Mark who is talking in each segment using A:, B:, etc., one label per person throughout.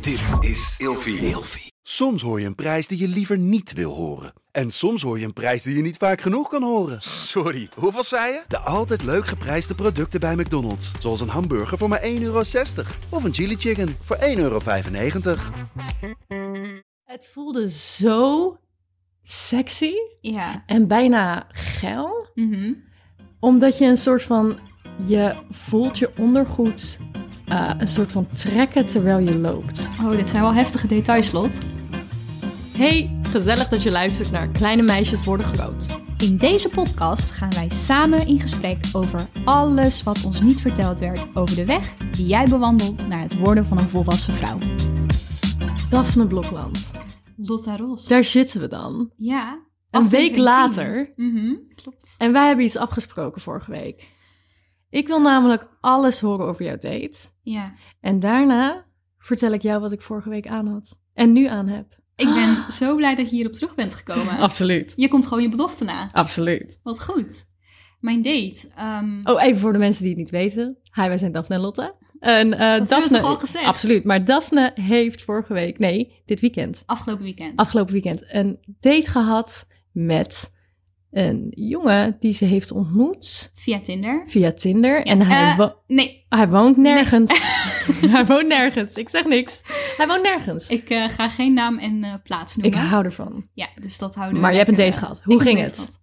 A: Dit is Ilfie.
B: Soms hoor je een prijs die je liever niet wil horen. En soms hoor je een prijs die je niet vaak genoeg kan horen.
C: Sorry, hoeveel zei je?
B: De altijd leuk geprijsde producten bij McDonald's. Zoals een hamburger voor maar 1,60 euro. Of een chili chicken voor 1,95 euro.
D: Het voelde zo sexy
E: Ja.
D: en bijna geil.
E: Mhm.
D: Omdat je een soort van. Je voelt je ondergoed eh, een soort van trekken terwijl je loopt.
E: Oh, dit zijn wel heftige details, Lot.
D: Hey, gezellig dat je luistert naar Kleine Meisjes Worden Groot.
E: In deze podcast gaan wij samen in gesprek over alles wat ons niet verteld werd over de weg die jij bewandelt naar het worden van een volwassen vrouw.
D: Daphne Blokland.
E: Lotta Ros.
D: Daar zitten we dan.
E: Ja.
D: Een week
E: aflevering 10.
D: later.
E: Mhm, Klopt.
D: En wij hebben iets afgesproken vorige week. Ik wil namelijk alles horen over jouw date.
E: Ja.
D: En daarna vertel ik jou wat ik vorige week aan had. En nu aan heb.
E: Ik ben zo blij dat je hierop terug bent gekomen.
D: Absoluut.
E: Je komt gewoon je belofte na.
D: Absoluut.
E: Wat goed. Mijn date. ehm,
D: Oh, even voor de mensen die het niet weten. Hi, wij zijn Daphne en Lotte. En eh,
E: we
D: Daphne.
E: toch al gezegd?
D: Absoluut. Maar Daphne heeft vorige week, nee, dit weekend,
E: Afgelopen weekend.
D: afgelopen weekend, een date gehad met een jongen die ze heeft ontmoet
E: Via Tinder.
D: via Tinder. En hij,
E: Eh,
D: wo-
E: nee,
D: hij woont nergens. hij woont nergens. Ik zeg niks. Hij woont nergens. Ik,
E: ik eh, ga geen naam en eh, plaats noemen.
D: hou ervan.
E: Ja, dus dat houden we
D: Maar je hebt een
E: lekker,
D: date
E: eh,
D: gehad. Hoe
E: ik heb
D: ging
E: een date
D: het?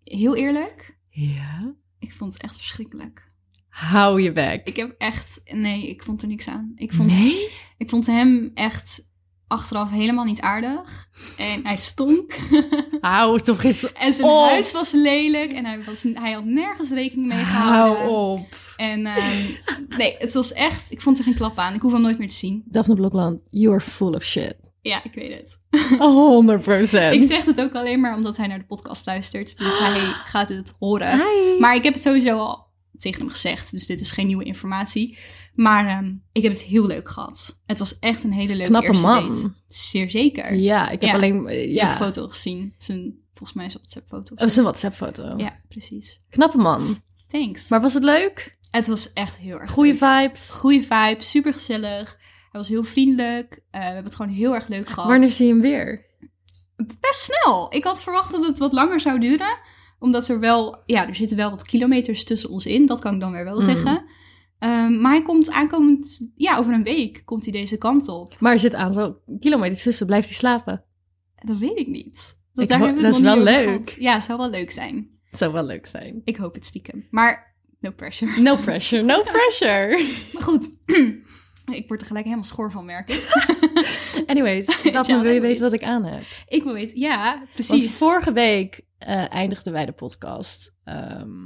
E: gehad. Heel eerlijk,
D: Ja.
E: ik vond het echt verschrikkelijk.
D: Hou je bek.
E: Ik heb echt... Nee, ik vond er niks aan. Ik vond,
D: Nee?
E: ik vond hem echt achteraf helemaal niet aardig. En hij stonk.
D: Hou toch eens
E: en zijn
D: op.
E: huis was lelijk. En hij, was, hij had nergens rekening mee gehouden.
D: Hou op.
E: En ehm, nee, het was echt... Ik vond er geen klap aan. Ik hoef hem nooit meer te zien.
D: Daphne Blokland, you are full of shit.
E: Ja, ik weet het.
D: 100 procent.
E: Ik zeg het ook alleen maar omdat hij naar de podcast luistert. Dus hij gaat het horen.
D: Hi.
E: Maar ik heb het sowieso al tegen hem gezegd. Dus dit is geen nieuwe informatie. Maar ehm, ik heb het heel leuk gehad. Het was echt een hele leuke
D: Knappe
E: eerste
D: man.
E: date. Zeer zeker.
D: Ja, ik heb
E: Ja.
D: alleen...
E: Ik heb een
D: Ja. Oh,
E: foto gezien. Zijn, volgens mij zijn WhatsApp-foto.
D: Dat is een WhatsApp-foto.
E: Ja, precies.
D: Knappe man.
E: Thanks. Maar
D: Maar was het leuk?
E: het was echt heel erg
D: Goeie
E: leuk.
D: vibes?
E: Goeie vibe. Super gezellig. Hij was heel vriendelijk. Eh, we hebben het gewoon heel erg leuk gehad.
D: Wanneer zie je hem weer?
E: Best snel. Ik had verwacht dat het wat langer zou duren. Omdat er wel... Ja, er zitten wel wat kilometers tussen ons in. Dat kan ik dan weer wel
D: Mm.
E: zeggen. Ehm, maar hij komt aankomend... Ja, over een week komt hij deze kant op.
D: Maar er zit aan zo kilometers tussen. Blijft hij slapen?
E: Dat weet ik niet. Dat,
D: Ik
E: daar
D: ho-
E: hebben we
D: dat
E: het
D: is
E: nog
D: wel
E: niet over
D: leuk.
E: gehad. Ja, het zou wel leuk zijn.
D: Zou wel leuk zijn.
E: Ik hoop het stiekem. Maar no pressure.
D: No pressure, no pressure.
E: Maar goed. ik word er gelijk helemaal schoor van, merk ik.
D: Anyways, Daphne, wil je
E: anyways.
D: weten wat ik aan heb?
E: ik wil weten... Ja,
D: Want
E: precies.
D: vorige week eh, eindigden wij de podcast. Ehm,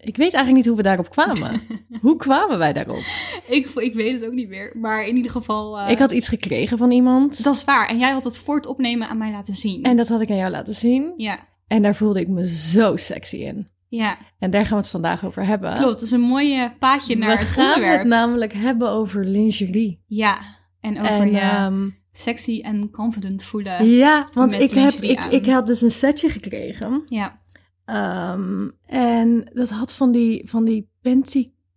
D: ik weet eigenlijk niet hoe we daarop kwamen. hoe kwamen wij daarop?
E: Ik, ik weet het ook niet meer. Maar in ieder geval... eh,
D: ik had iets gekregen van iemand.
E: Dat is waar. En jij had het voor het opnemen aan mij laten zien.
D: En dat had ik aan jou laten zien.
E: Ja,
D: En daar voelde ik me zo sexy in.
E: ja.
D: En daar gaan we het vandaag over hebben.
E: Klopt, dat is een mooi eh, paadje naar
D: we
E: het
D: gaan
E: onderwerp.
D: het namelijk hebben over lingerie.
E: Ja, en over
D: en
E: je
D: ehm,
E: sexy en confident voelen.
D: ja, want
E: met
D: ik, heb,
E: lingerie
D: ik,
E: aan.
D: ik had dus een setje gekregen.
E: Ja,
D: Ehm, en dat had van die, van die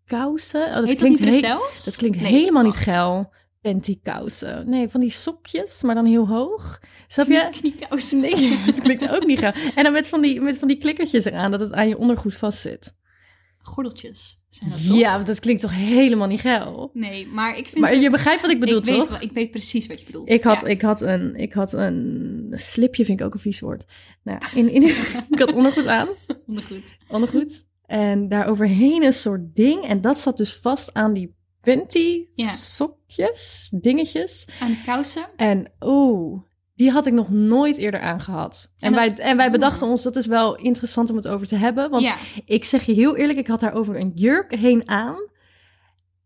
D: pentikousen. Oh, dat
E: heet
D: klinkt
E: dat
D: heel-
E: niet bretels?
D: Dat klinkt
E: Nee,
D: helemaal niet
E: wacht.
D: geil. Pentikousen. Nee, van die sokjes, maar dan heel hoog. Snap je?
E: Knie- Kniekousen.
D: Nee, dat klinkt ook niet geil. En dan met van die, met van die klikkertjes eraan, dat het aan je ondergoed vastzit.
E: Gordeltjes zijn dat toch?
D: Ja, want dat klinkt toch helemaal niet geil?
E: Nee, maar ik vind
D: Maar
E: ze-
D: je begrijpt wat ik bedoel,
E: ik
D: toch?
E: Weet, wel- ik weet precies wat je bedoelt.
D: Ik had,
E: Ja.
D: ik had een, ik had een slipje, vind ik ook een vies woord. Nou, in, in, ik had ondergoed aan,
E: ondergoed.
D: ondergoed. En daar overheen een soort ding. En dat zat dus vast aan die panty,
E: Ja.
D: sokjes, dingetjes.
E: Aan de kousen.
D: En oeh, die had ik nog nooit eerder aangehad. En,
E: En
D: wij, en wij
E: oh.
D: bedachten ons, dat is wel interessant om het over te hebben. Want
E: ja,
D: ik zeg je heel eerlijk, ik had daarover een jurk heen aan.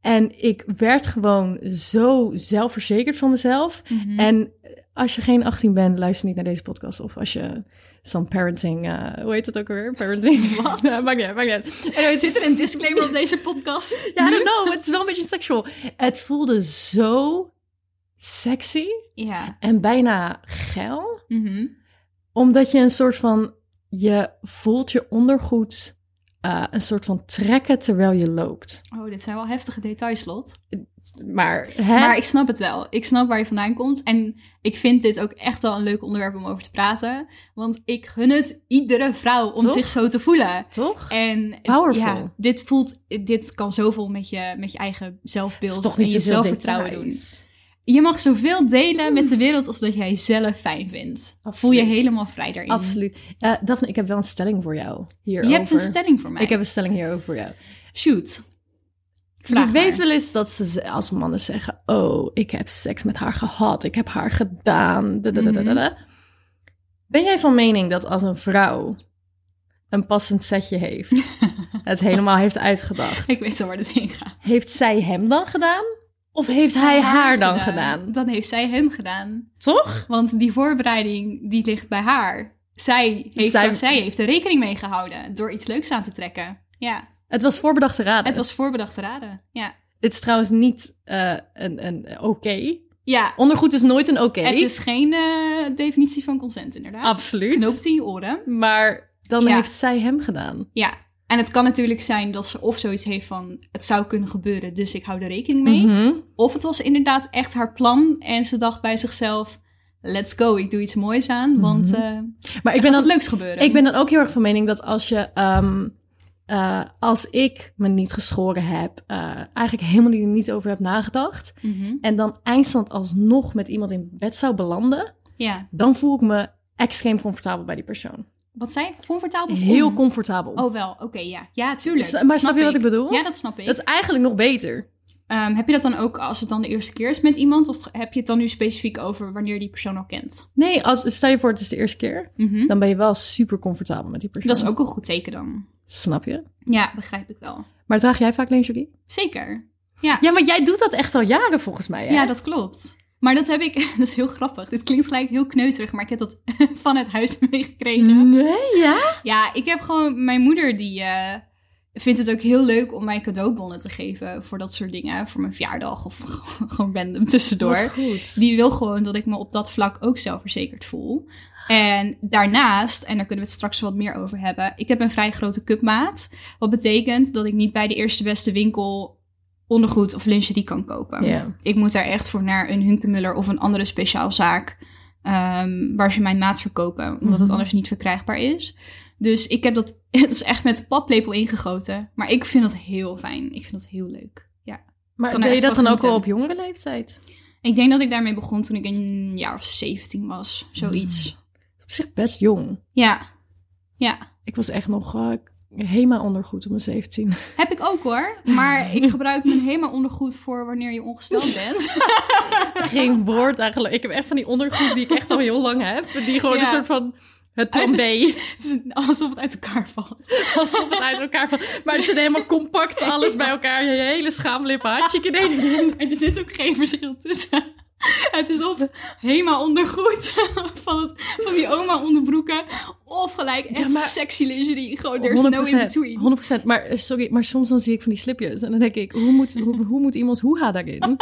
D: En ik werd gewoon zo zelfverzekerd van mezelf.
E: mhm.
D: En als je geen 18 bent, luister niet naar deze podcast. Of als je some parenting, eh, hoe heet dat ook weer? Parenting.
E: Wat?
D: Ja, maakt niet uit, maakt niet uit.
E: Anyway, zit er een disclaimer op deze podcast?
D: Ja, I
E: Nu?
D: don't know, het is wel een beetje seksual. Het voelde zo sexy
E: Ja.
D: en bijna geil.
E: mhm.
D: Omdat je een soort van, je voelt je ondergoed eh, een soort van trekken terwijl je loopt.
E: Oh, dit zijn wel heftige details, Lot.
D: Maar, hè?
E: Maar ik snap het wel. Ik snap waar je vandaan komt. En ik vind dit ook echt wel een leuk onderwerp om over te praten. Want ik gun het iedere vrouw om
D: Toch?
E: zich zo te voelen.
D: toch?
E: En
D: Powerful.
E: ja, dit voelt, dit kan zoveel met je, met je eigen zelfbeeld
D: Het is
E: en je
D: te veel
E: zelfvertrouwen doen.
D: details.
E: Je mag zoveel delen met de wereld als dat jij zelf fijn vindt. Voel je
D: Absoluut.
E: helemaal vrij daarin.
D: Absoluut. Eh Daphne, ik heb wel een stelling voor jou hierover.
E: Je hebt een stelling voor mij.
D: Ik heb een stelling hierover voor jou.
E: Shoot. Vraag
D: ik
E: maar.
D: weet wel eens dat ze ze- als mannen zeggen: Oh, ik heb seks met haar gehad, ik heb haar gedaan. da, da, da, da,
E: Mhm.
D: da, da." Ben jij van mening dat als een vrouw een passend setje heeft, het helemaal heeft uitgedacht,
E: Ik weet al waar dit heen gaat.
D: heeft zij hem dan gedaan? Of heeft hij haar dan gedaan?
E: Dan heeft zij hem gedaan.
D: Toch?
E: Want die voorbereiding, die ligt bij haar. Zij heeft,
D: Zij-
E: zij heeft er rekening mee gehouden door iets leuks aan te trekken. Ja,
D: Het was voorbedachte raden.
E: het was voorbedacht te raden. Ja,
D: Dit is trouwens niet eh, een, een oké.
E: ja
D: Ondergoed is nooit een oké.
E: het is geen eh, definitie van consent inderdaad.
D: Absoluut.
E: Knoopt in je oren.
D: Ah, Maar dan
E: Ja.
D: heeft zij hem gedaan.
E: Ja, en het kan natuurlijk zijn dat ze of zoiets heeft van... het zou kunnen gebeuren, dus ik hou er rekening mee.
D: Mhm.
E: Of het was inderdaad echt haar plan en ze dacht bij zichzelf... let's go, ik doe iets moois aan, want eh,
D: Maar Mhm. ik
E: er
D: ben
E: gaat
D: dan
E: wat leuks gebeuren.
D: Ik ben dan ook heel erg van mening dat als je, ehm, eh, als ik me niet geschoren heb, eh, eigenlijk helemaal hier niet over heb nagedacht,
E: Mhm.
D: en dan eindstand alsnog met iemand in bed zou belanden,
E: Ja,
D: dan voel ik me extreem comfortabel bij die persoon.
E: wat zei ik? Comfortabel? of
D: Heel
E: on?
D: comfortabel.
E: Oh, wel. Oké, ja. Ja, tuurlijk.
D: S- maar snap je wat ik bedoel?
E: Ja, dat snap ik.
D: Dat is eigenlijk nog beter.
E: Ehm, heb je dat dan ook als het dan de eerste keer is met iemand? Of heb je het dan nu specifiek over wanneer je die persoon al kent?
D: Nee, als, stel je voor het is de eerste keer,
E: Mhm.
D: dan ben je wel super comfortabel met die persoon.
E: Dat is ook een goed teken dan.
D: Snap je?
E: Ja, begrijp ik wel.
D: Maar draag jij vaak lingerie?
E: Zeker.
D: Ja, maar jij doet dat echt al jaren volgens mij,
E: Ja,
D: hè?
E: dat klopt. Maar dat heb ik... dat is heel grappig. Dit klinkt gelijk heel kneuterig, maar ik heb dat van het huis meegekregen.
D: Mm. Nee, ja?
E: Ja, ik heb gewoon mijn moeder die eh, vindt het ook heel leuk om mij cadeaubonnen te geven voor dat soort dingen. Voor mijn verjaardag of gewoon random
D: Wat
E: tussendoor.
D: goed.
E: Die wil gewoon dat ik me op dat vlak ook zelfverzekerd voel. En daarnaast, en daar kunnen we het straks wat meer over hebben, ik heb een vrij grote cupmaat. Wat betekent dat ik niet bij de eerste beste winkel ondergoed of lingerie kan kopen.
D: Ja.
E: Ik moet daar echt voor naar een Hunkemuller of een andere speciaalzaak ehm, waar ze mijn maat verkopen, omdat het
D: Mhm.
E: anders niet verkrijgbaar is. Dus ik heb dat, het is echt met paplepel ingegoten. Maar ik vind dat heel fijn. Ik vind dat heel leuk. Ja.
D: Maar
E: Kan
D: deed
E: er
D: je
E: echt
D: dat
E: van
D: dan ook al op
E: genieten.
D: jongere leeftijd?
E: Ik denk dat ik daarmee begon toen ik een jaar of 17 was. Zoiets.
D: Op zich best jong.
E: Ja. Ja.
D: Ik was echt nog eh HEMA ondergoed om mijn 17.
E: Heb ik ook hoor. Maar ik gebruik mijn helemaal ondergoed voor wanneer je ongesteld bent.
D: Geen woord eigenlijk. Ik heb echt van die ondergoed die ik echt al heel lang heb. Die gewoon
E: Ja.
D: een soort van het plan B.
E: Het is een- alsof het uit elkaar valt.
D: Alsof het uit elkaar valt. Maar het zit helemaal compact alles bij elkaar. Je hele schaamlippen. Hartstikke nee.
E: En er zit ook geen verschil tussen. Het is of helemaal ondergoed van, het, van die oma onderbroeken. Of gelijk echt
D: Ja, maar-
E: sexy lingerie. Gewoon, Oh, there's no in between.
D: 100%. 100%. Maar eh, sorry, maar soms dan zie ik van die slipjes. En dan denk ik, hoe moet, hoe, hoe moet iemands hoeha daarin?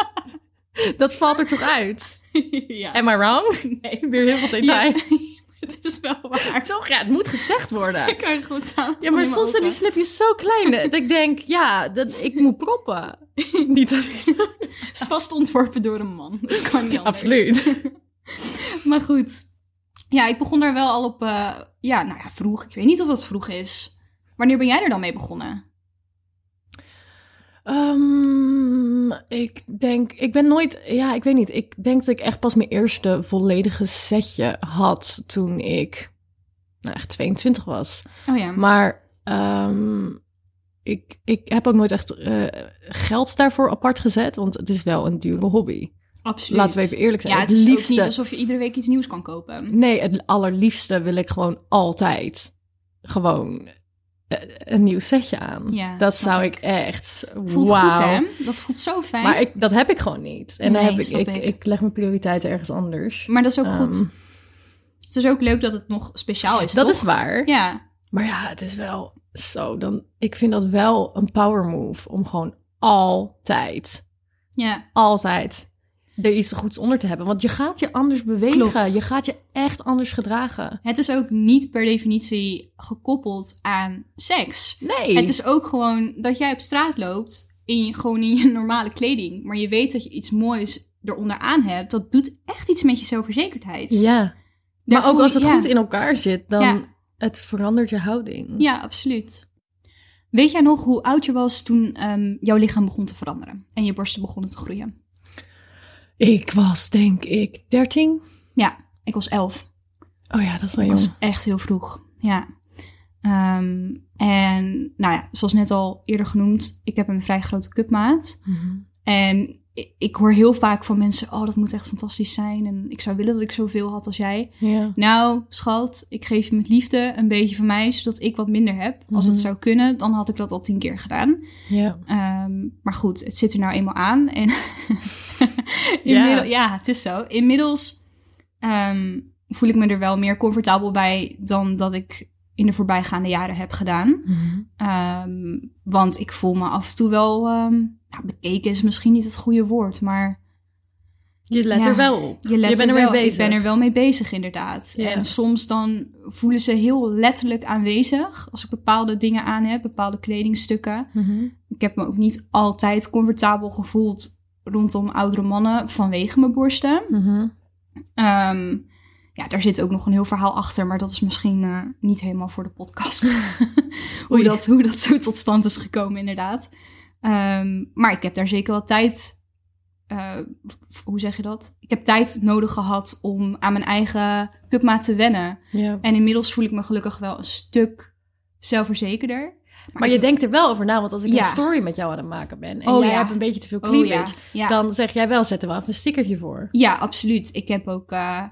D: Dat valt er toch uit?
E: ja.
D: Am I wrong?
E: nee.
D: Weer heel veel
E: Ja,
D: detail.
E: het is wel waar.
D: Toch? Ja, het moet gezegd worden.
E: Ik krijg goed aan.
D: Ja, maar soms zijn die slipjes zo klein dat ik denk, ja, dat, ik moet proppen. Niet dat
E: is vast ontworpen door een man. Dat kan niet anders.
D: Absoluut.
E: Maar goed. Ja, ik begon daar wel al op... eh, ja, nou ja, vroeg. Ik weet niet of dat vroeg is. Wanneer ben jij er dan mee begonnen?
D: Ehm, ik denk, ik ben nooit, ja, ik weet niet. Ik denk dat ik echt pas mijn eerste volledige setje had toen ik, nou echt 22 was.
E: Oh ja.
D: Maar ehm, ik, ik heb ook nooit echt eh, geld daarvoor apart gezet, want het is wel een dure hobby.
E: absoluut.
D: Laten we even eerlijk zijn.
E: Ja, het is ook niet alsof je iedere week iets nieuws kan kopen.
D: Nee, het allerliefste wil ik gewoon altijd gewoon eh, een nieuw setje aan.
E: Ja,
D: dat
E: snap
D: zou
E: ik.
D: ik echt.
E: Voelt goed,
D: wauw.
E: hè? Dat voelt zo fijn.
D: Maar ik, dat heb ik gewoon niet. En
E: Nee,
D: dan heb ik,
E: snap
D: ik,
E: ik.
D: ik leg mijn prioriteiten ergens anders.
E: Maar dat is ook
D: Ehm,
E: goed. Het is ook leuk dat het nog speciaal is,
D: Dat
E: toch?
D: is waar.
E: Ja.
D: Maar ja, het is wel zo. Dan, ik vind dat wel een power move om gewoon altijd,
E: Ja.
D: altijd er iets goeds onder te hebben. Want je gaat je anders bewegen.
E: Klopt.
D: Je gaat je echt anders gedragen.
E: Het is ook niet per definitie gekoppeld aan seks.
D: Nee.
E: Het is ook gewoon dat jij op straat loopt in gewoon in je normale kleding, maar je weet dat je iets moois eronder aan hebt. Dat doet echt iets met je zelfverzekerdheid.
D: ja.
E: Daar
D: Maar ook
E: voel
D: als
E: je-
D: het
E: ja.
D: goed in elkaar zit, dan
E: Ja.
D: het verandert je houding.
E: Ja, absoluut. Weet jij nog hoe oud je was toen ehm, jouw lichaam begon te veranderen en je borsten begonnen te groeien?
D: Ik was denk ik 13.
E: Ja, ik was elf.
D: Oh ja, dat is wel
E: Ik
D: jong.
E: was echt heel vroeg, ja. Ehm, en nou ja, zoals net al eerder genoemd, ik heb een vrij grote cupmaat.
D: Mhm.
E: En i- ik hoor heel vaak van mensen, oh dat moet echt fantastisch zijn. En ik zou willen dat ik zoveel had als jij.
D: Ja.
E: Nou, schat, ik geef je met liefde een beetje van mij, zodat ik wat minder heb. Als het
D: Mhm.
E: zou kunnen, dan had ik dat al tien keer gedaan.
D: ja.
E: Ehm, maar goed, het zit er nou eenmaal aan. En
D: Ja.
E: Inmiddel, ja. het is zo. Inmiddels ehm, voel ik me er wel meer comfortabel bij dan dat ik in de voorbijgaande jaren heb gedaan. Ehm, want ik voel me af en toe wel. ehm nou, bekeken is misschien niet het goede woord, maar
D: Je let
E: Ja.
D: er wel op.
E: je let
D: bent
E: er
D: ermee
E: wel,
D: bezig.
E: Ik ben er wel mee bezig, inderdaad.
D: Ja.
E: En soms dan voelen ze heel letterlijk aanwezig als ik bepaalde dingen aan heb, bepaalde kledingstukken.
D: Mhm.
E: Ik heb me ook niet altijd comfortabel gevoeld rondom oudere mannen vanwege mijn borsten.
D: Mhm.
E: Ehm, ja, daar zit ook nog een heel verhaal achter, maar dat is misschien eh, niet helemaal voor de podcast. hoe,
D: Oei.
E: dat, hoe dat zo tot stand is gekomen, inderdaad. Ehm, maar ik heb daar zeker wel tijd. eh, f- hoe zeg je dat? Ik heb tijd nodig gehad om aan mijn eigen cupmaat te wennen.
D: Ja.
E: En inmiddels voel ik me gelukkig wel een stuk zelfverzekerder.
D: Maar je denkt er wel over na, want als ik
E: Ja.
D: een story met jou aan het maken ben en
E: Oh
D: jij
E: ja.
D: hebt een beetje te veel
E: Oh,
D: cleavage,
E: ja.
D: dan zeg jij wel, zetten we af een stickertje voor.
E: Ja, absoluut. Ik heb ook. eh,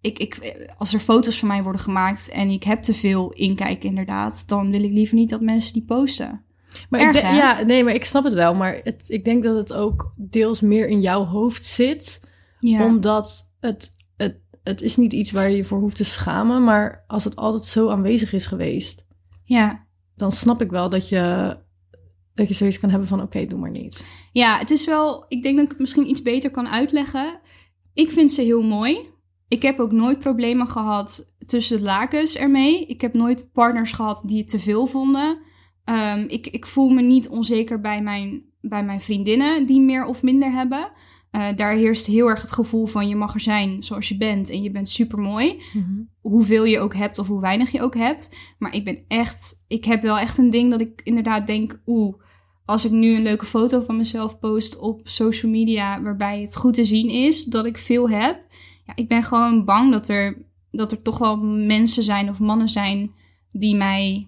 E: ik, ik, als er foto's van mij worden gemaakt en ik heb te veel inkijk, inderdaad, dan wil ik liever niet dat mensen die posten.
D: Maar
E: Erg,
D: ik ben-
E: hè?
D: ja, nee, maar ik snap het wel. Maar het, ik denk dat het ook deels meer in jouw hoofd zit,
E: Ja,
D: omdat het, het, het is niet iets waar je je voor hoeft te schamen. Maar als het altijd zo aanwezig is geweest,
E: ja.
D: dan snap ik wel dat je, dat je zoiets kan hebben van, oké, doe maar niet.
E: ja het is wel. Ik denk dat ik het misschien iets beter kan uitleggen. Ik vind ze heel mooi. Ik heb ook nooit problemen gehad tussen de lakens ermee. Ik heb nooit partners gehad die het te veel vonden. Ehm, ik, ik voel me niet onzeker bij mijn, bij mijn vriendinnen die meer of minder hebben. Eh, daar heerst heel erg het gevoel van je mag er zijn zoals je bent en je bent super mooi. hoeveel je ook hebt of hoe weinig je ook hebt. Maar ik ben echt, ik heb wel echt een ding dat ik inderdaad denk, oeh, als ik nu een leuke foto van mezelf post op social media waarbij het goed te zien is dat ik veel heb. Ja, ik ben gewoon bang dat er, dat er toch wel mensen zijn of mannen zijn die mij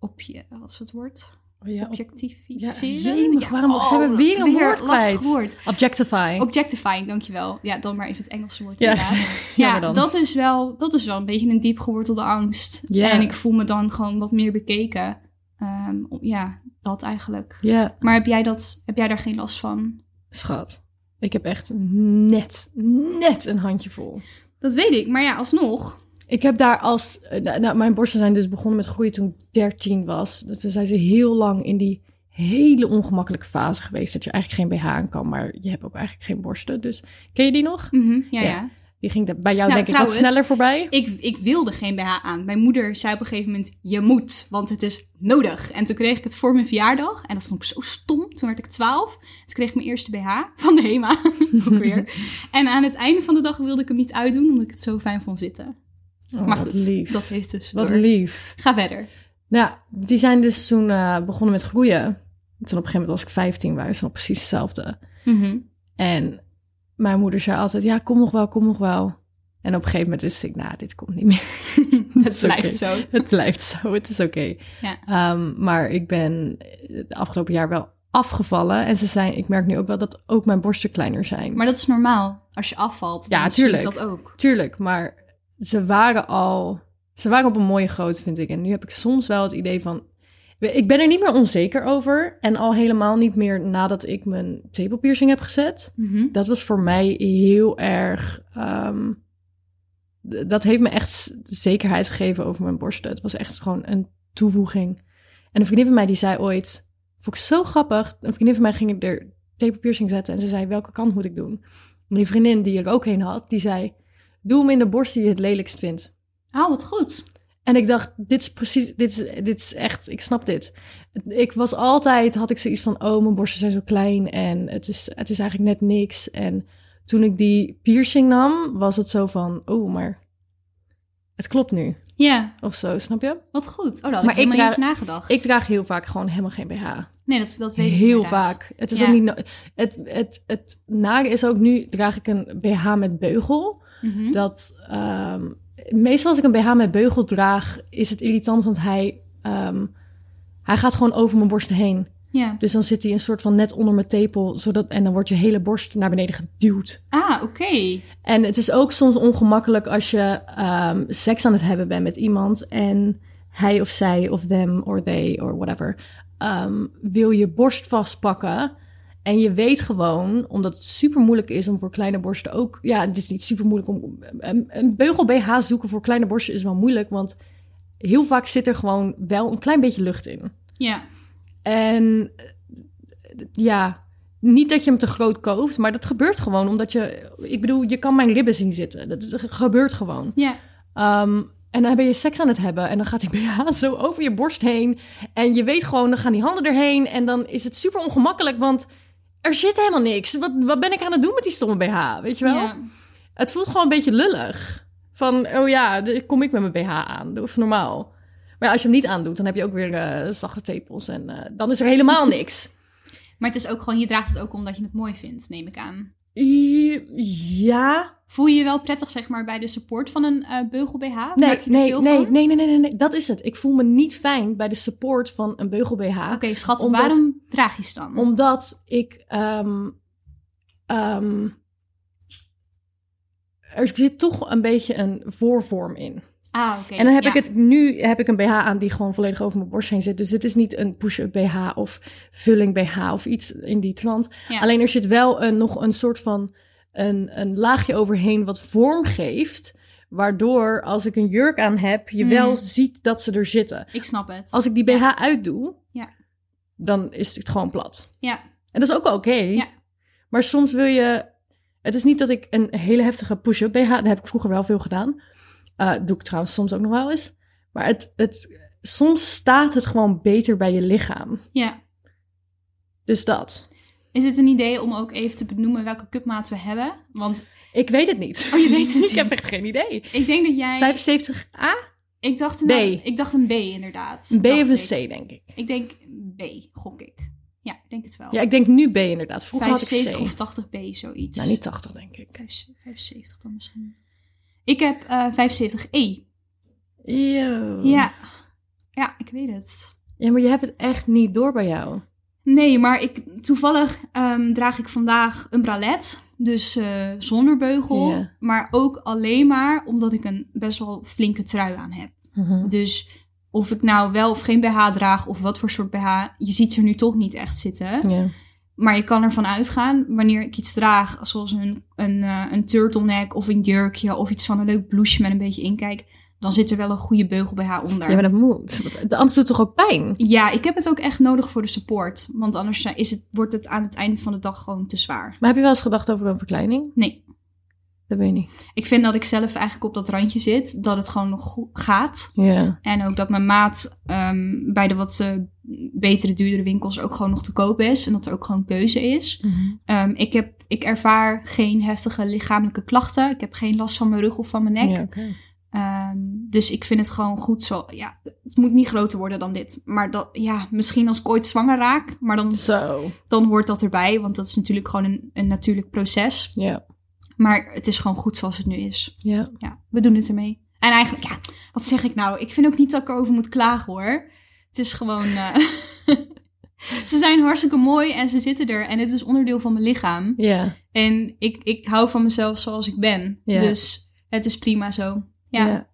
E: op je, wat is het woord?
D: Oh ja, op- ja,
E: Objectificeren?
D: jemig, waarom
E: Oh,
D: ze hebben weer een woord
E: lastig
D: kwijt.
E: woord.
D: Objectify.
E: Objectifying, dankjewel. Ja, dan maar even het Engelse woord
D: Ja,
E: inderdaad.
D: jammer
E: Ja,
D: dan.
E: dat is, wel, dat is wel een beetje een diep gewortelde angst.
D: Ja.
E: En ik voel me dan gewoon wat meer bekeken. Ehm, om- ja, dat eigenlijk.
D: ja,
E: Maar heb jij, dat, heb jij daar geen last van?
D: schat. Ik heb echt net, net een handje vol.
E: Dat weet ik, maar ja, alsnog.
D: Ik heb daar als... eh, nou, nou, mijn borsten zijn dus begonnen met groeien toen ik 13 was. Dus Toen zijn ze heel lang in die hele ongemakkelijke fase geweest. Dat je eigenlijk geen BH aan kan, maar je hebt ook eigenlijk geen borsten. Dus ken je die nog?
E: Mhm,
D: Ja.
E: ja, ja.
D: Die ging de- bij jou
E: Nou,
D: denk
E: trouwens-
D: ik wat sneller voorbij.
E: Ik, ik wilde geen BH aan. Mijn moeder zei op een gegeven moment, je moet, want het is nodig. En toen kreeg ik het voor mijn verjaardag. En dat vond ik zo stom. Toen werd ik 12. Toen kreeg ik mijn eerste BH van de HEMA. ook weer. En aan het einde van de dag wilde ik hem niet uitdoen, omdat ik het zo fijn vond zitten.
D: Oh,
E: maar
D: wat
E: goed,
D: lief.
E: dat heeft dus
D: Wat
E: door.
D: lief.
E: Ga verder.
D: Nou, die zijn dus toen eh, begonnen met groeien. Toen op een gegeven moment was ik 15, waren ze nog precies hetzelfde.
E: Mhm.
D: En mijn moeder zei altijd, ja, kom nog wel, kom nog wel. En op een gegeven moment wist ik, nou, dit komt niet meer. Dat
E: het
D: is
E: blijft
D: oké.
E: zo.
D: Het blijft zo, het is oké.
E: Ja.
D: Ehm, maar ik ben het afgelopen jaar wel afgevallen. En ze zijn, ik merk nu ook wel dat ook mijn borsten kleiner zijn.
E: Maar dat is normaal. Als je afvalt, dan
D: Ja,
E: ja, tuurlijk.
D: tuurlijk.
E: dat ook.
D: Tuurlijk, maar ze waren al... Ze waren op een mooie grootte, vind ik. En nu heb ik soms wel het idee van... Ik ben er niet meer onzeker over. En al helemaal niet meer nadat ik mijn tepelpiercing heb gezet.
E: Mhm.
D: dat was voor mij heel erg. ehm, d- dat heeft me echt s- zekerheid gegeven over mijn borsten. Het was echt gewoon een toevoeging. En een vriendin van mij die zei ooit. Vond ik zo grappig. Een vriendin van mij ging er tape piercing zetten. En ze zei, welke kant moet ik doen? En die vriendin die er ook heen had, die zei, doe hem in de borst die je het lelijkst vindt.
E: Ah, wat goed.
D: En ik dacht, dit is precies, dit is, dit is echt, ik snap dit. Ik was altijd, had ik zoiets van, oh, mijn borsten zijn zo klein en het is, het is eigenlijk net niks. En toen ik die piercing nam, was het zo van, oh, maar het klopt nu.
E: Ja,
D: Of zo, snap je?
E: wat goed. Oh, daar had
D: Maar
E: ik helemaal
D: ik
E: niet
D: draag-
E: over nagedacht.
D: Ik draag heel vaak gewoon helemaal geen BH.
E: nee, dat, dat weet ik
D: Heel
E: inderdaad.
D: vaak. Het is
E: Ja.
D: ook niet. no- Het, het, het nare is ook nu draag ik een BH met beugel.
E: Mhm.
D: Dat ehm, meestal als ik een BH met beugel draag, is het irritant, want hij, ehm, hij gaat gewoon over mijn borst heen.
E: Ja.
D: Dus dan zit hij een soort van net onder mijn tepel, zodat en dan wordt je hele borst naar beneden geduwd.
E: Ah, oké.
D: En het is ook soms ongemakkelijk als je ehm, seks aan het hebben bent met iemand en hij of zij of them or they or whatever ehm, wil je borst vastpakken. En je weet gewoon, omdat het super moeilijk is om voor kleine borsten ook. Ja, het is niet super moeilijk om. Een, een beugel BH zoeken voor kleine borsten is wel moeilijk, want heel vaak zit er gewoon wel een klein beetje lucht in.
E: Ja.
D: En eh, d- ja, niet dat je hem te groot koopt, maar dat gebeurt gewoon. Omdat je, ik bedoel, je kan mijn ribben zien zitten. Dat is- dat gebeurt gewoon.
E: Ja.
D: Ehm, en dan ben je seks aan het hebben en dan gaat die BH zo over je borst heen. En je weet gewoon, dan gaan die handen erheen. En dan is het super ongemakkelijk, want er zit helemaal niks. Wat, wat ben ik aan het doen met die stomme BH, weet je wel?
E: Ja.
D: Het voelt gewoon een beetje lullig. Van, oh ja, de- kom ik met mijn BH aan. Doe even normaal. Maar ja, als je hem niet aandoet, dan heb je ook weer eh, zachte tepels. En eh, dan is er helemaal niks.
E: Maar het is ook gewoon, je draagt het ook omdat je het mooi vindt, neem ik aan.
D: I- ja.
E: Voel je je wel prettig, zeg maar, bij de support van een eh, beugel BH?
D: Nee,
E: Merk je er
D: nee,
E: veel
D: nee,
E: van?
D: nee, nee, nee, nee, nee. Dat is het. Ik voel me niet fijn bij de support van een beugel BH.
E: Oké, schat,
D: Omdat-
E: waarom draag je ze dan?
D: Omdat ik... ehm, ehm, er zit toch een beetje een voorvorm in.
E: Ah, oké.
D: En dan heb
E: ja.
D: ik het nu heb ik een BH aan die gewoon volledig over mijn borst heen zit. Dus het is niet een push-up BH of vulling BH of iets in die trant.
E: Ja.
D: Alleen er zit wel een, nog een soort van een, een laagje overheen wat vorm geeft. Waardoor als ik een jurk aan heb, je
E: Mm.
D: wel ziet dat ze er zitten.
E: Ik snap het.
D: Als ik die BH
E: Ja.
D: uitdoe,
E: Ja.
D: dan is het gewoon plat.
E: Ja.
D: En dat is ook oké.
E: Ja.
D: Maar soms wil je. Het is niet dat ik een hele heftige push-up BH. Dat heb ik vroeger wel veel gedaan. Eh, doe ik trouwens soms ook nog wel eens. Maar het, het, soms staat het gewoon beter bij je lichaam.
E: ja.
D: Dus dat.
E: Is het een idee om ook even te benoemen welke cupmaat we hebben? Want
D: Ik weet het niet.
E: Oh, je weet het
D: ik heb
E: niet.
D: echt geen idee.
E: ik denk dat jij...
D: 75a?
E: Ik dacht,
D: B.
E: een, ik dacht een B, inderdaad.
D: Een B
E: Dacht
D: of
E: ik.
D: een C, denk ik.
E: Ik denk B, gok ik. Ja, ik denk het wel.
D: Ja, ik denk nu B inderdaad. Vroeger had ik
E: 75
D: C.
E: Oh. of 80 B, zoiets.
D: Nou, niet 80, denk ik.
E: 75 dan misschien. Ik heb eh 75 E.
D: Yo.
E: Ja. Ja, ik weet het.
D: ja, maar je hebt het echt niet door bij jou.
E: Nee, maar ik, toevallig ehm, draag ik vandaag een bralet. Dus eh, zonder beugel.
D: Ja.
E: Maar ook alleen maar omdat ik een best wel flinke trui aan heb.
D: Mhm.
E: Dus of ik nou wel of geen BH draag of wat voor soort BH, je ziet ze er nu toch niet echt zitten.
D: Ja.
E: Maar je kan ervan uitgaan wanneer ik iets draag, zoals een, een, eh, een turtleneck of een jurkje of iets van een leuk blouseje met een beetje inkijk, dan zit er wel een goede beugel BH onder.
D: ja, maar dat moet. Want Anders doet het toch ook pijn?
E: Ja, ik heb het ook echt nodig voor de support. Want anders eh, is het, wordt het aan het eind van de dag gewoon te zwaar.
D: Maar heb je wel eens gedacht over een verkleining?
E: Nee.
D: Dat weet ik niet.
E: Ik vind dat ik zelf eigenlijk op dat randje zit. Dat het gewoon nog go- gaat.
D: Ja.
E: En ook dat mijn maat ehm, bij de wat eh, betere, duurdere winkels ook gewoon nog te koop is. En dat er ook gewoon keuze is. Ehm, ik, heb, ik ervaar geen heftige lichamelijke klachten. Ik heb geen last van mijn rug of van mijn nek.
D: Ja, oké.
E: Ehm, dus ik vind het gewoon goed zo. Ja, het moet niet groter worden dan dit. Maar dat, ja, misschien als ik ooit zwanger raak. Maar dan
D: Zo.
E: dan hoort dat erbij. Want dat is natuurlijk gewoon een, een natuurlijk proces.
D: Ja.
E: Maar het is gewoon goed zoals het nu is.
D: Ja.
E: Ja, we doen het ermee. En eigenlijk, ja, wat zeg ik nou? Ik vind ook niet dat ik erover moet klagen hoor. Het is gewoon. eh, ze zijn hartstikke mooi en ze zitten er. En het is onderdeel van mijn lichaam.
D: Ja.
E: En ik, ik hou van mezelf zoals ik ben.
D: Ja.
E: Dus het is prima zo. Ja. ja.
D: Ja,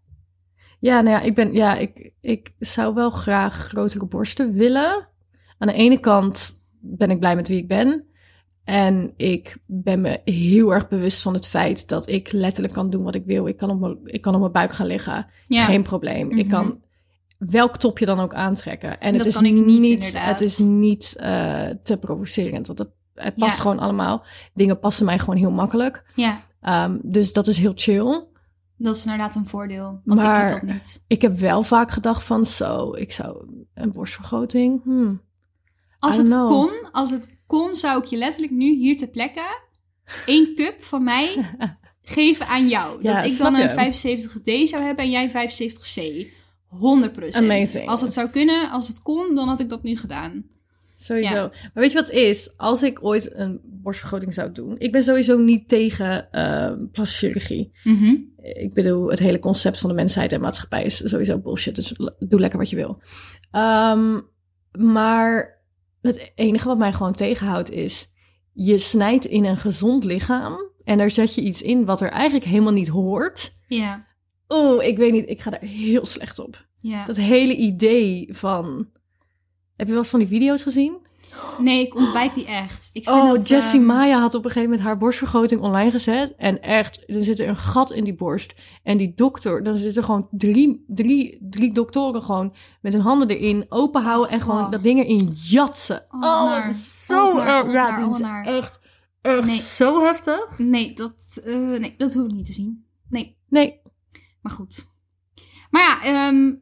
D: Ja, nou ja, ik ben, ja, ik, ik zou wel graag grotere borsten willen. Aan de ene kant ben ik blij met wie ik ben. En ik ben me heel erg bewust van het feit dat ik letterlijk kan doen wat ik wil. Ik kan op mijn, ik kan op mijn buik gaan liggen. Geen probleem. Ik
E: Mhm.
D: kan welk topje dan ook aantrekken. En
E: Dat
D: het is
E: kan ik niet,
D: niet
E: inderdaad.
D: het is niet eh, te provocerend. Want dat Het past
E: Ja.
D: gewoon allemaal. Dingen passen mij gewoon heel makkelijk.
E: Ja,
D: Ehm, dus dat is heel chill.
E: dat is inderdaad een voordeel. Want
D: Maar-
E: ik heb dat niet.
D: Ik heb wel vaak gedacht van zo, ik zou een borstvergroting. hmm.
E: Als
D: I
E: het
D: don't know.
E: kon, als het kon, zou ik je letterlijk nu hier ter plekke één cup van mij geven aan jou.
D: Ja,
E: dat ik
D: snap
E: dan
D: je.
E: een 75D zou hebben en jij 75C. 100%.
D: Amazing.
E: Als het zou kunnen, als het kon, dan had ik dat nu gedaan.
D: Sowieso. Maar weet je wat het is? Als ik ooit een borstvergroting zou doen, ik ben sowieso niet tegen eh plastische chirurgie.
E: Mhm.
D: Ik bedoel, het hele concept van de mensheid en maatschappij is sowieso bullshit. Dus l- doe lekker wat je wil. Ehm, maar het enige wat mij gewoon tegenhoudt is... je snijdt in een gezond lichaam... en daar zet je iets in wat er eigenlijk helemaal niet hoort.
E: Ja,
D: Oh, ik weet niet, ik ga daar heel slecht op.
E: ja.
D: Dat hele idee van... Heb je wel eens van die video's gezien?
E: Nee, ik ontwijk die echt. Ik vind
D: Oh,
E: dat,
D: Jessie
E: ehm,
D: Maya had op een gegeven moment haar borstvergroting online gezet. En echt, er zit een gat in die borst. En die dokter, dan zitten gewoon drie, drie, drie doktoren gewoon met hun handen erin openhouden. En gewoon
E: Oh.
D: dat ding erin jatsen.
E: Oh,
D: Oh,
E: wat naar.
D: dat is zo
E: Oh, wat naar,
D: erg. Ja,
E: oh, naar,
D: dit
E: oh,
D: is
E: naar.
D: echt, echt
E: Nee.
D: zo heftig.
E: Nee dat, eh, nee, dat hoef ik niet te zien. Nee,
D: Nee,
E: maar goed. Maar ja, ehm,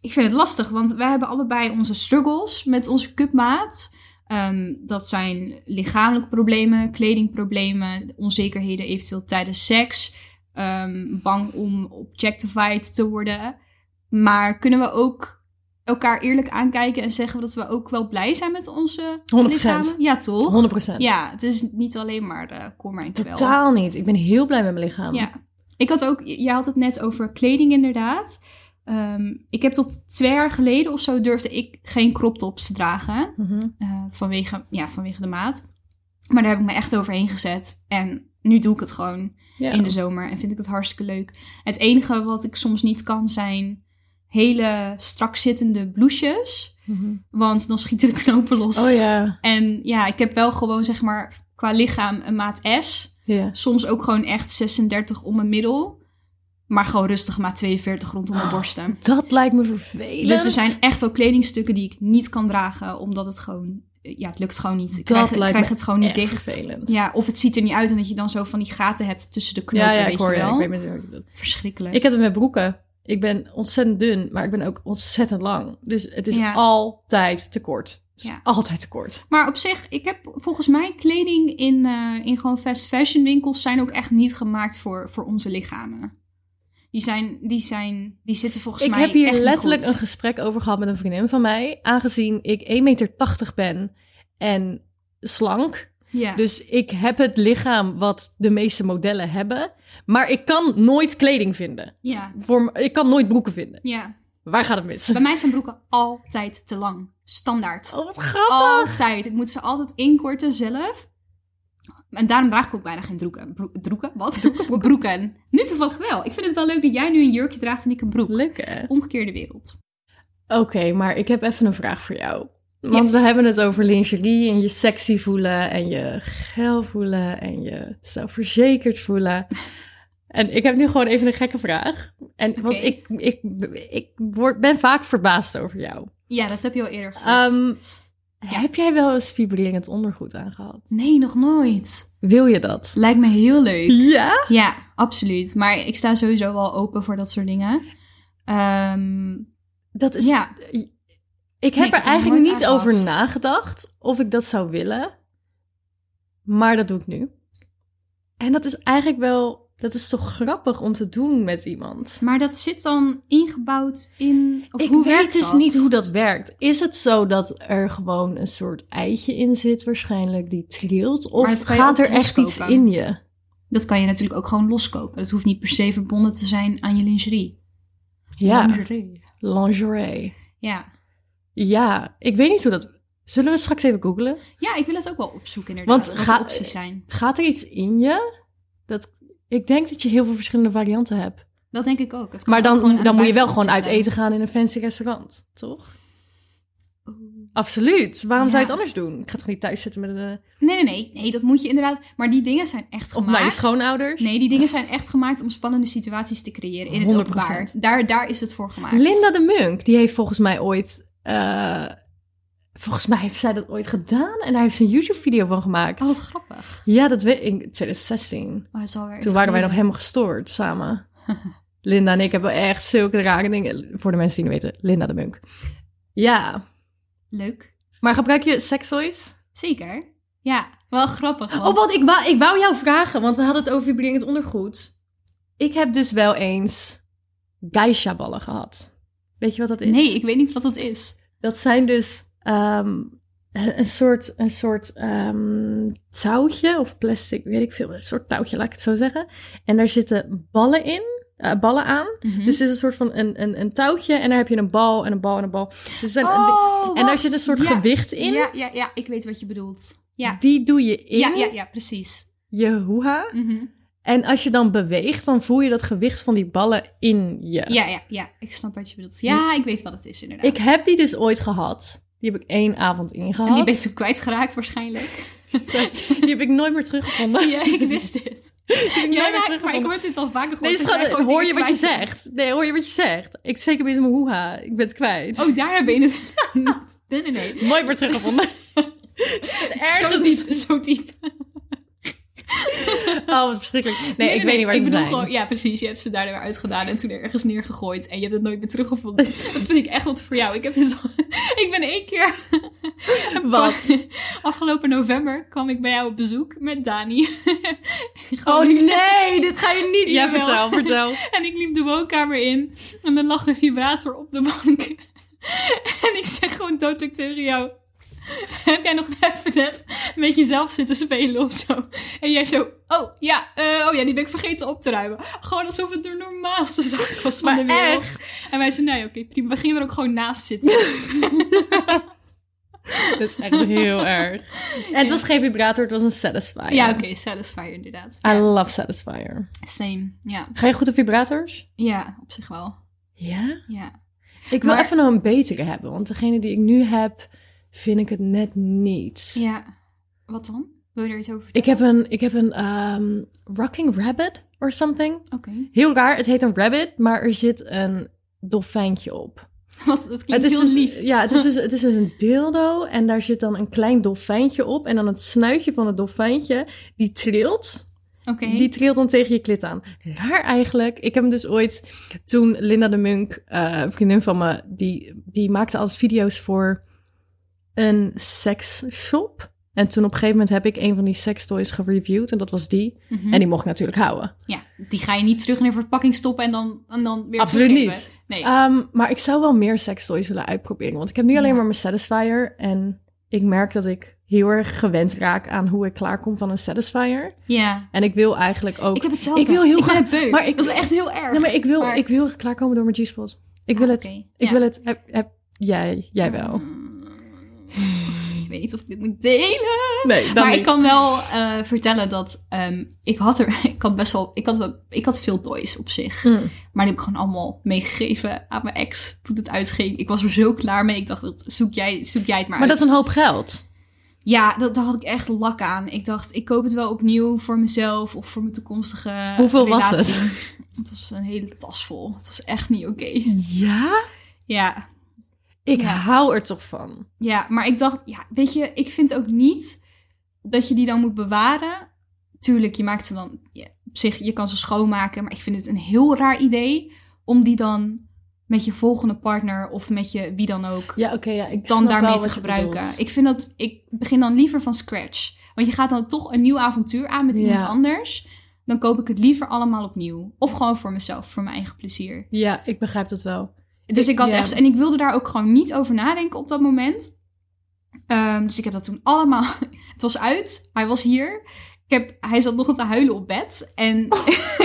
E: ik vind het lastig, want wij hebben allebei onze struggles met onze cupmaat. Ehm, dat zijn lichamelijke problemen, kledingproblemen, onzekerheden eventueel tijdens seks. ehm, bang om objectified te worden. Maar kunnen we ook elkaar eerlijk aankijken en zeggen dat we ook wel blij zijn met onze
D: 100%.
E: lichamen? Ja, toch?
D: 100%.
E: Ja, het is niet alleen maar eh kommer en kwel.
D: Totaal niet. Ik ben heel blij met mijn lichaam.
E: Ja. Ik had ook, jij had het net over kleding inderdaad. Ehm, ik heb tot twee jaar geleden of zo durfde ik geen crop tops te dragen.
D: Mhm.
E: eh, vanwege, ja, vanwege de maat. Maar daar heb ik me echt overheen gezet. En nu doe ik het gewoon
D: Ja.
E: in de zomer. En vind ik het hartstikke leuk. Het enige wat ik soms niet kan zijn hele strak zittende blouses.
D: Mhm.
E: Want dan schieten de knopen los.
D: Oh ja.
E: En ja, ik heb wel gewoon zeg maar qua lichaam een maat S.
D: Ja.
E: Soms ook gewoon echt 36 om mijn middel. Maar gewoon rustig maar 42 rondom
D: Oh,
E: mijn borsten.
D: Dat lijkt me vervelend.
E: Dus er zijn echt wel kledingstukken die ik niet kan dragen. Omdat het gewoon... eh, Ja, het lukt gewoon niet. Ik
D: Dat
E: krijg, ik
D: lijkt
E: krijg
D: me
E: het gewoon niet
D: echt
E: dicht.
D: vervelend.
E: Ja, of het ziet er niet uit. En dat je dan zo van die gaten hebt tussen de knopen.
D: ja, ja,
E: weet
D: ik hoor
E: je
D: je.
E: wel.
D: Ik weet met wat je bedoelt.
E: Verschrikkelijk.
D: Ik heb het met broeken. Ik ben ontzettend dun, maar ik ben ook ontzettend lang. Dus het is
E: Ja.
D: altijd te kort. Het is
E: Ja.
D: Altijd te kort.
E: Maar op zich, ik heb volgens mij kleding in, eh, in gewoon fast fashion winkels zijn ook echt niet gemaakt voor, voor onze lichamen. Die zijn, die zijn, die zitten volgens
D: ik
E: mij
D: heb hier
E: echt niet
D: letterlijk
E: goed.
D: een gesprek over gehad met een vriendin van mij. Aangezien ik 1,80 meter ben en slank.
E: Ja.
D: Dus ik heb het lichaam wat de meeste modellen hebben. Maar ik kan nooit kleding vinden.
E: ja,
D: Voor, m- ik kan nooit broeken vinden.
E: ja.
D: Waar gaat het mis?
E: Bij mij zijn broeken altijd te lang. Standaard.
D: Oh, wat grappig.
E: Altijd. Ik moet ze altijd inkorten zelf. En daarom draag ik ook bijna geen droeken. Broek, droeken? Wat? Broeken. Nu toevallig wel. Ik vind het wel leuk dat jij nu een jurkje draagt en ik een broek.
D: Leuk hè?
E: Omgekeerde wereld.
D: Oké, maar ik heb even een vraag voor jou. Want we hebben het over lingerie en je sexy voelen en je geil voelen en je zelfverzekerd voelen. En ik heb nu gewoon even een gekke vraag. En want
E: Oké.
D: ik, ik, ik word, ben vaak verbaasd over jou.
E: Ja, dat heb je al eerder gezegd.
D: Ehm, Heb jij wel eens vibrerend ondergoed aangehad?
E: nee, nog nooit.
D: Wil je dat?
E: Lijkt me heel leuk.
D: Ja?
E: Ja, absoluut. Maar ik sta sowieso wel open voor dat soort dingen. Ehm,
D: Dat is.
E: Ja.
D: Ik
E: Nee,
D: heb
E: ik
D: er
E: heb
D: eigenlijk
E: nooit
D: niet
E: aangehad.
D: over nagedacht of ik dat zou willen. Maar dat doe ik nu. En dat is eigenlijk wel. Dat is toch grappig om te doen met iemand.
E: maar dat zit dan ingebouwd in. Of
D: ik
E: hoe
D: weet
E: werkt
D: dus
E: dat?
D: niet hoe dat werkt. Is het zo dat er gewoon een soort eitje in zit, waarschijnlijk, die trilt?
E: Maar
D: Of
E: dat kan je
D: gaat
E: ook
D: er echt iets
E: loskopen.
D: in je?
E: Dat kan je natuurlijk ook gewoon loskopen. Dat hoeft niet per se verbonden te zijn aan je lingerie.
D: Ja,
E: Lingerie.
D: lingerie.
E: Ja.
D: Ja, ik weet niet hoe dat. Zullen we straks even googlen?
E: ja, ik wil het ook wel opzoeken inderdaad.
D: Want
E: Want wat
D: ga-
E: de opties zijn.
D: Gaat er iets in je? Dat, ik denk dat je heel veel verschillende varianten hebt.
E: Dat denk ik ook. Het kan
D: Maar
E: ook
D: dan,
E: gewoon aan
D: dan
E: de
D: moet je wel
E: buitenkant
D: gewoon uit
E: zitten.
D: eten gaan in een fancy restaurant, toch?
E: Oh.
D: Absoluut. Waarom zou je het
E: Ja.
D: anders doen? Ik ga toch niet thuis zitten met een...
E: Nee, nee, nee. Nee, dat moet je inderdaad. Maar die dingen zijn echt
D: Of
E: gemaakt.
D: naar je schoonouders?
E: Nee, die dingen zijn echt gemaakt om spannende situaties te creëren in het
D: 100%.
E: openbaar. Daar, daar is het voor gemaakt.
D: Linda de Munk, die heeft volgens mij ooit eh, Volgens mij heeft zij dat ooit gedaan en daar heeft ze een YouTube-video van gemaakt.
E: Oh, wat grappig.
D: Ja, dat weet ik. In 2016.
E: Oh, dat is alweer
D: Toen waren wij nog helemaal gestoord samen. Linda en ik hebben echt zulke rare dingen. Voor de mensen die het niet weten, Linda de Munk. Ja,
E: Leuk.
D: maar gebruik je sekstoys?
E: Zeker. Ja, wel grappig.
D: Oh, want ik wou, ik wou jou vragen, want we hadden het over vibrerend ondergoed. Ik heb dus wel eens geisha-ballen gehad. Weet je wat dat is?
E: Nee, ik weet niet wat dat is.
D: Dat zijn dus ehm, een soort, een soort ehm, touwtje of plastic, weet ik veel. Een soort touwtje, laat ik het zo zeggen. En daar zitten ballen in, eh, ballen aan.
E: Dus,
D: Dus het is een soort van een, een, een touwtje en daar heb je een bal en een bal en een bal. Dus het zijn een-
E: oh,
D: en daar
E: wacht.
D: zit een soort
E: ja,
D: gewicht in.
E: Ja, ja, ja, ik weet wat je bedoelt. Ja,
D: Die doe je in
E: ja, ja, ja precies.
D: je hoeha.
E: Mhm.
D: En als je dan beweegt, dan voel je dat gewicht van die ballen in je.
E: Ja, ja, ja. Ik snap wat je bedoelt. Ja, ik weet wat het is inderdaad.
D: Ik heb die dus ooit gehad. Die heb ik één avond ingehad.
E: En die ben je toen kwijtgeraakt waarschijnlijk.
D: Die heb ik nooit meer teruggevonden.
E: Zie je, ik wist dit.
D: nooit
E: Ja,
D: meer
E: maar- maar ik
D: teruggevonden.
E: hoor dit al vaker gehoord.
D: Nee,
E: dat
D: schat,
E: jij gewoon
D: hoor je
E: dingen
D: wat je
E: kwijt bent.
D: zegt? Nee, hoor je wat je zegt? Ik zeker bezig mijn hoeha. Ik ben het kwijt.
E: Oh, daar ben je het. nee, nee, nee.
D: Nooit meer teruggevonden.
E: Zo diep, zo diep.
D: Oh, wat verschrikkelijk. Nee, ik
E: Nee, nee,
D: weet niet waar
E: ik
D: ze
E: bedoel
D: zijn.
E: Gewoon, ja, precies. Je hebt ze daar weer uitgedaan en toen ergens neergegooid. En je hebt het nooit meer teruggevonden. Dat vind ik echt wat voor jou. Ik, heb dit al- ik ben één keer...
D: Wat?
E: Afgelopen november kwam ik bij jou op bezoek met Dani.
D: Oh
E: Gewoon-
D: nee, dit ga je niet
E: Ja,
D: Ja, vertel, vertel.
E: En ik liep de woonkamer in en er lag een vibrator op de bank. en ik zeg gewoon dodelijk tegen jou... Heb jij nog even net met jezelf zitten spelen of zo? En jij zo, oh ja, eh, oh ja, die ben ik vergeten op te ruimen. Gewoon alsof het de normaalste zaak was van
D: Maar
E: de wereld.
D: echt.
E: En wij zeiden, nee, oké, prima. We gingen er ook gewoon naast zitten.
D: Dat is echt heel erg. En het was geen vibrator, het was een satisfier.
E: ja, oké, Satisfyer inderdaad.
D: I
E: Ja,
D: love satisfier.
E: same, ja.
D: Ga je goed op vibrators?
E: Ja, op zich wel.
D: Ja.
E: Ja.
D: Ik wil
E: Maar-
D: even nog een betere hebben, want degene die ik nu heb, vind ik het net niet.
E: Ja. Wat dan? Wil je er iets over
D: Ik heb
E: vertellen?
D: een, ik heb een ehm, rocking rabbit or something.
E: Oké.
D: Heel raar, het heet een rabbit, maar er zit een dolfijntje op.
E: Want dat klinkt
D: het is
E: heel
D: dus,
E: lief.
D: Ja, het is, dus, het is dus een dildo en daar zit dan een klein dolfijntje op. En dan het snuitje van het dolfijntje, die trilt.
E: Oké.
D: Die trilt dan tegen je klit aan. Raar eigenlijk. Ik heb hem dus ooit, toen Linda de Munk, eh, een vriendin van me, die, die maakte altijd video's voor een seksshop. En toen op een gegeven moment heb ik een van die sextoys gereviewd en dat was die.
E: Mhm.
D: En die mocht ik natuurlijk houden.
E: Ja, die ga je niet terug in een verpakking stoppen en dan, en dan weer
D: Absoluut
E: teruggeven.
D: niet.
E: Nee.
D: Ehm, maar ik zou wel meer sextoys willen uitproberen. Want ik heb nu alleen
E: Ja.
D: maar mijn Satisfier. En ik merk dat ik heel erg gewend raak aan hoe ik klaarkom van een Satisfier.
E: ja.
D: En ik wil eigenlijk ook...
E: Ik heb hetzelfde.
D: Ik wil heel
E: ik
D: graag-
E: Ben het beu.
D: maar ik-
E: dat is echt heel erg.
D: Nee, maar ik wil,
E: maar-
D: ik wil klaarkomen door mijn G-spot. Ik wil
E: Ah,
D: het.
E: oké.
D: Ik
E: Ja.
D: wil het. Heb, heb, jij, jij wel.
E: Mm, Ik weet niet of ik dit moet delen.
D: Nee, dan
E: maar
D: niet.
E: ik kan wel eh, vertellen dat ehm, ik had er, ik had best wel, ik had, wel- ik had veel toys op zich.
D: Mm.
E: Maar die heb ik gewoon allemaal meegegeven aan mijn ex toen het uitging. Ik was er zo klaar mee. Ik dacht, dat zoek jij, zoek jij het maar
D: Maar
E: uit.
D: dat is een hoop geld.
E: Ja, dat, daar had ik echt lak aan. Ik dacht, ik koop het wel opnieuw voor mezelf of voor mijn toekomstige
D: Hoeveel was
E: relatie. Het was een hele tas vol. Het was echt niet oké.
D: Ja?
E: Ja,
D: Ik
E: Ja.
D: hou er toch van.
E: ja, maar ik dacht, ja, weet je, ik vind ook niet dat je die dan moet bewaren. Tuurlijk, je maakt ze dan ja, op zich, je kan ze schoonmaken, maar ik vind het een heel raar idee om die dan met je volgende partner of met je wie dan ook
D: Ja, oké. ja, ik snap
E: dan
D: wel
E: daarmee
D: wat
E: te
D: je
E: gebruiken.
D: bedoelt.
E: Ik vind dat ik begin dan liever van scratch. Want je gaat dan toch een nieuw avontuur aan met iemand
D: Ja.
E: anders. Dan koop ik het liever allemaal opnieuw. Of gewoon voor mezelf, voor mijn eigen plezier.
D: Ja, ik begrijp dat wel.
E: Dus ik had
D: ja.
E: echt. En ik wilde daar ook gewoon niet over nadenken op dat moment. Ehm, dus ik heb dat toen allemaal. Het was uit. Hij was hier. Ik heb, hij zat nog te huilen op bed. En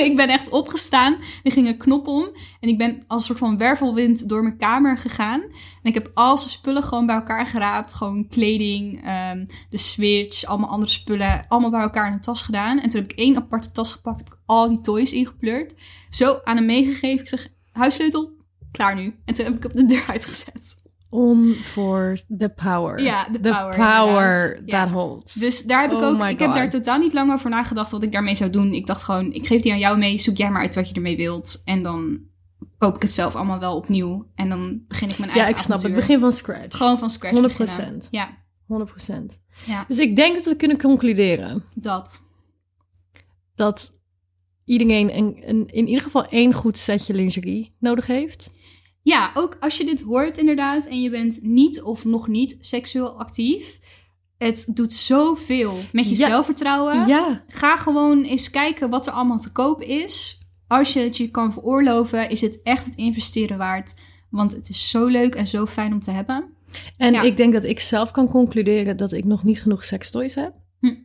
E: ik ben echt opgestaan. Er ging een knop om. En ik ben als een soort van wervelwind door mijn kamer gegaan. En ik heb al zijn spullen gewoon bij elkaar geraapt. Gewoon kleding, ehm, de switch, allemaal andere spullen. Allemaal bij elkaar in een tas gedaan. En toen heb ik één aparte tas gepakt. Heb ik al die toys ingepleurd. Zo aan hem meegegeven. Ik zeg, huissleutel, klaar nu. En toen heb ik op de deur uitgezet.
D: On for the power.
E: Ja, the
D: the
E: power,
D: power that
E: inderdaad. Ja.
D: holds.
E: Dus daar heb ik
D: Oh
E: ook,
D: my
E: ik heb
D: God.
E: daar totaal niet lang over nagedacht wat ik daarmee zou doen. Ik dacht gewoon, ik geef die aan jou mee, zoek jij maar uit wat je ermee wilt. En dan koop ik het zelf allemaal wel opnieuw. En dan begin ik mijn
D: Ja,
E: eigen
D: ik snap het.
E: avontuur.
D: Begin van scratch.
E: Gewoon van scratch
D: 100%.
E: beginnen. Ja,
D: 100%.
E: Ja.
D: Dus ik denk dat we kunnen concluderen
E: dat.
D: dat iedereen een, een, in ieder geval één goed setje lingerie nodig heeft.
E: Ja, ook als je dit hoort inderdaad en je bent niet of nog niet seksueel actief. Het doet zoveel met je
D: Ja.
E: zelfvertrouwen.
D: Ja,
E: Ga gewoon eens kijken wat er allemaal te koop is. Als je het je kan veroorloven, is het echt het investeren waard. Want het is zo leuk en zo fijn om te hebben.
D: en
E: Ja.
D: ik denk dat ik zelf kan concluderen dat ik nog niet genoeg sextoys heb.
E: Hm.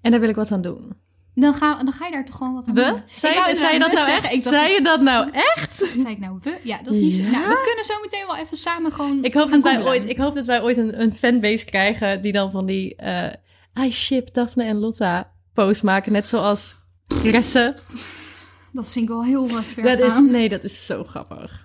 D: En daar wil ik wat aan doen.
E: Dan ga, dan ga je daar toch gewoon wat aan doen.
D: We?
E: Ik
D: Zei,
E: wou
D: je- zei je dat
E: inderdaad
D: nou echt?
E: we zeggen. Ik dacht,
D: zei je dat nou echt?
E: Zei ik nou we? Ja, dat is niet zo.
D: Ja?
E: Nou, we kunnen zo meteen wel even samen gewoon...
D: Ik hoop,
E: gaan
D: dat wij
E: googlen.
D: ooit, ik hoop dat wij ooit een, een fanbase krijgen die dan van die eh, I ship Daphne en Lotta post maken. Net zoals Resse.
E: Dat vind ik wel heel erg ver
D: Dat is,
E: gaan.
D: nee, dat is zo grappig.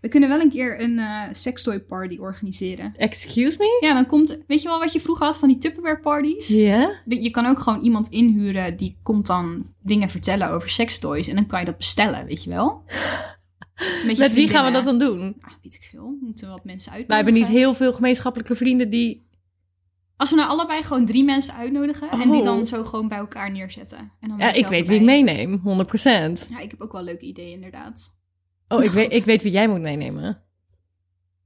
E: We kunnen wel een keer een eh sextoy party organiseren.
D: Excuse me?
E: Ja, dan komt... Weet je wel wat je vroeger had van die Tupperware parties?
D: Ja?
E: Je je kan ook gewoon iemand inhuren die komt dan dingen vertellen over sextoys. En dan kan je dat bestellen, weet je wel. je
D: Met wie gaan we
E: vriendinnen.
D: dat dan doen?
E: Ah, weet ik veel. We Moeten wat mensen uitnodigen.
D: Wij hebben niet heel veel gemeenschappelijke vrienden die...
E: Als we nou allebei gewoon drie mensen uitnodigen. En die
D: Oh.
E: dan zo gewoon bij elkaar neerzetten. En dan
D: Ja, ik
E: mezelf
D: weet wie ik
E: erbij.
D: meeneem, 100%.
E: Ja, ik heb ook wel leuke ideeën inderdaad.
D: Oh, ik weet,
E: God.
D: ik weet wie jij moet meenemen.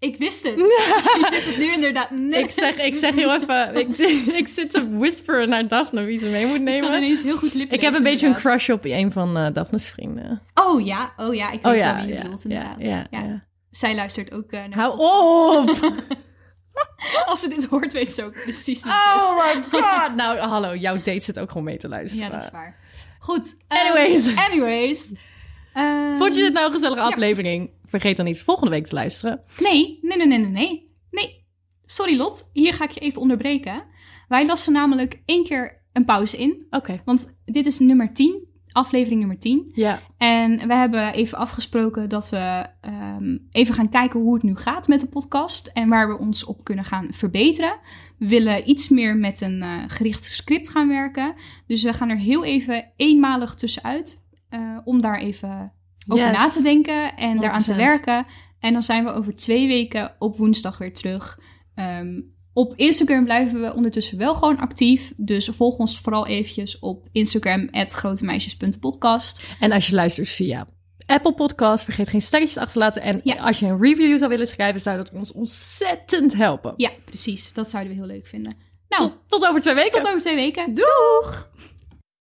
E: Ik wist het. je zit het nu inderdaad net.
D: Ik zeg, ik zeg heel even... Ik, ik zit te whisperen naar Daphne wie ze mee moet
E: Ik kan
D: nemen.
E: ineens heel goed lippen.
D: Ik heb een beetje een crush op een van eh, Daphne's vrienden.
E: Oh ja, oh ja. Ik weet
D: Oh
E: wel
D: ja,
E: wie je
D: ja,
E: bedoelt
D: ja,
E: inderdaad.
D: ja,
E: Ja.
D: ja.
E: Zij luistert ook eh, naar...
D: Hou op!
E: Als ze dit hoort, weet ze ook precies wie het is.
D: Oh my god! Nou, hallo, jouw date zit ook gewoon mee te luisteren.
E: Ja, dat is waar. Goed. ehm,
D: Anyways.
E: anyways. Ehm,
D: Vond je dit nou een gezellige aflevering? Vergeet dan niet volgende week te luisteren.
E: Nee, nee, nee, nee, nee, nee. Nee. Sorry Lot, hier ga ik je even onderbreken. Wij lassen namelijk één keer een pauze in.
D: Oké.
E: Want dit is nummer 10, aflevering nummer 10.
D: Ja.
E: En we hebben even afgesproken dat we ehm, even gaan kijken hoe het nu gaat met de podcast. En waar we ons op kunnen gaan verbeteren. We willen iets meer met een eh, gericht script gaan werken. Dus we gaan er heel even eenmalig tussenuit. eh, om daar even over
D: Yes.
E: na te denken en daaraan te
D: 100%.
E: werken. En dan zijn we over twee weken op woensdag weer terug. Ehm, op Instagram blijven we ondertussen wel gewoon actief. Dus volg ons vooral eventjes op Instagram, grotemeisjes.podcast.
D: En als je luistert via Apple Podcast, vergeet geen sterretjes achter te laten. En
E: Ja.
D: als je een review zou willen schrijven, zou dat ons ontzettend helpen.
E: Ja, precies. Dat zouden we heel leuk vinden. Nou,
D: Tot, tot over twee weken.
E: tot over twee weken.
D: Doeg!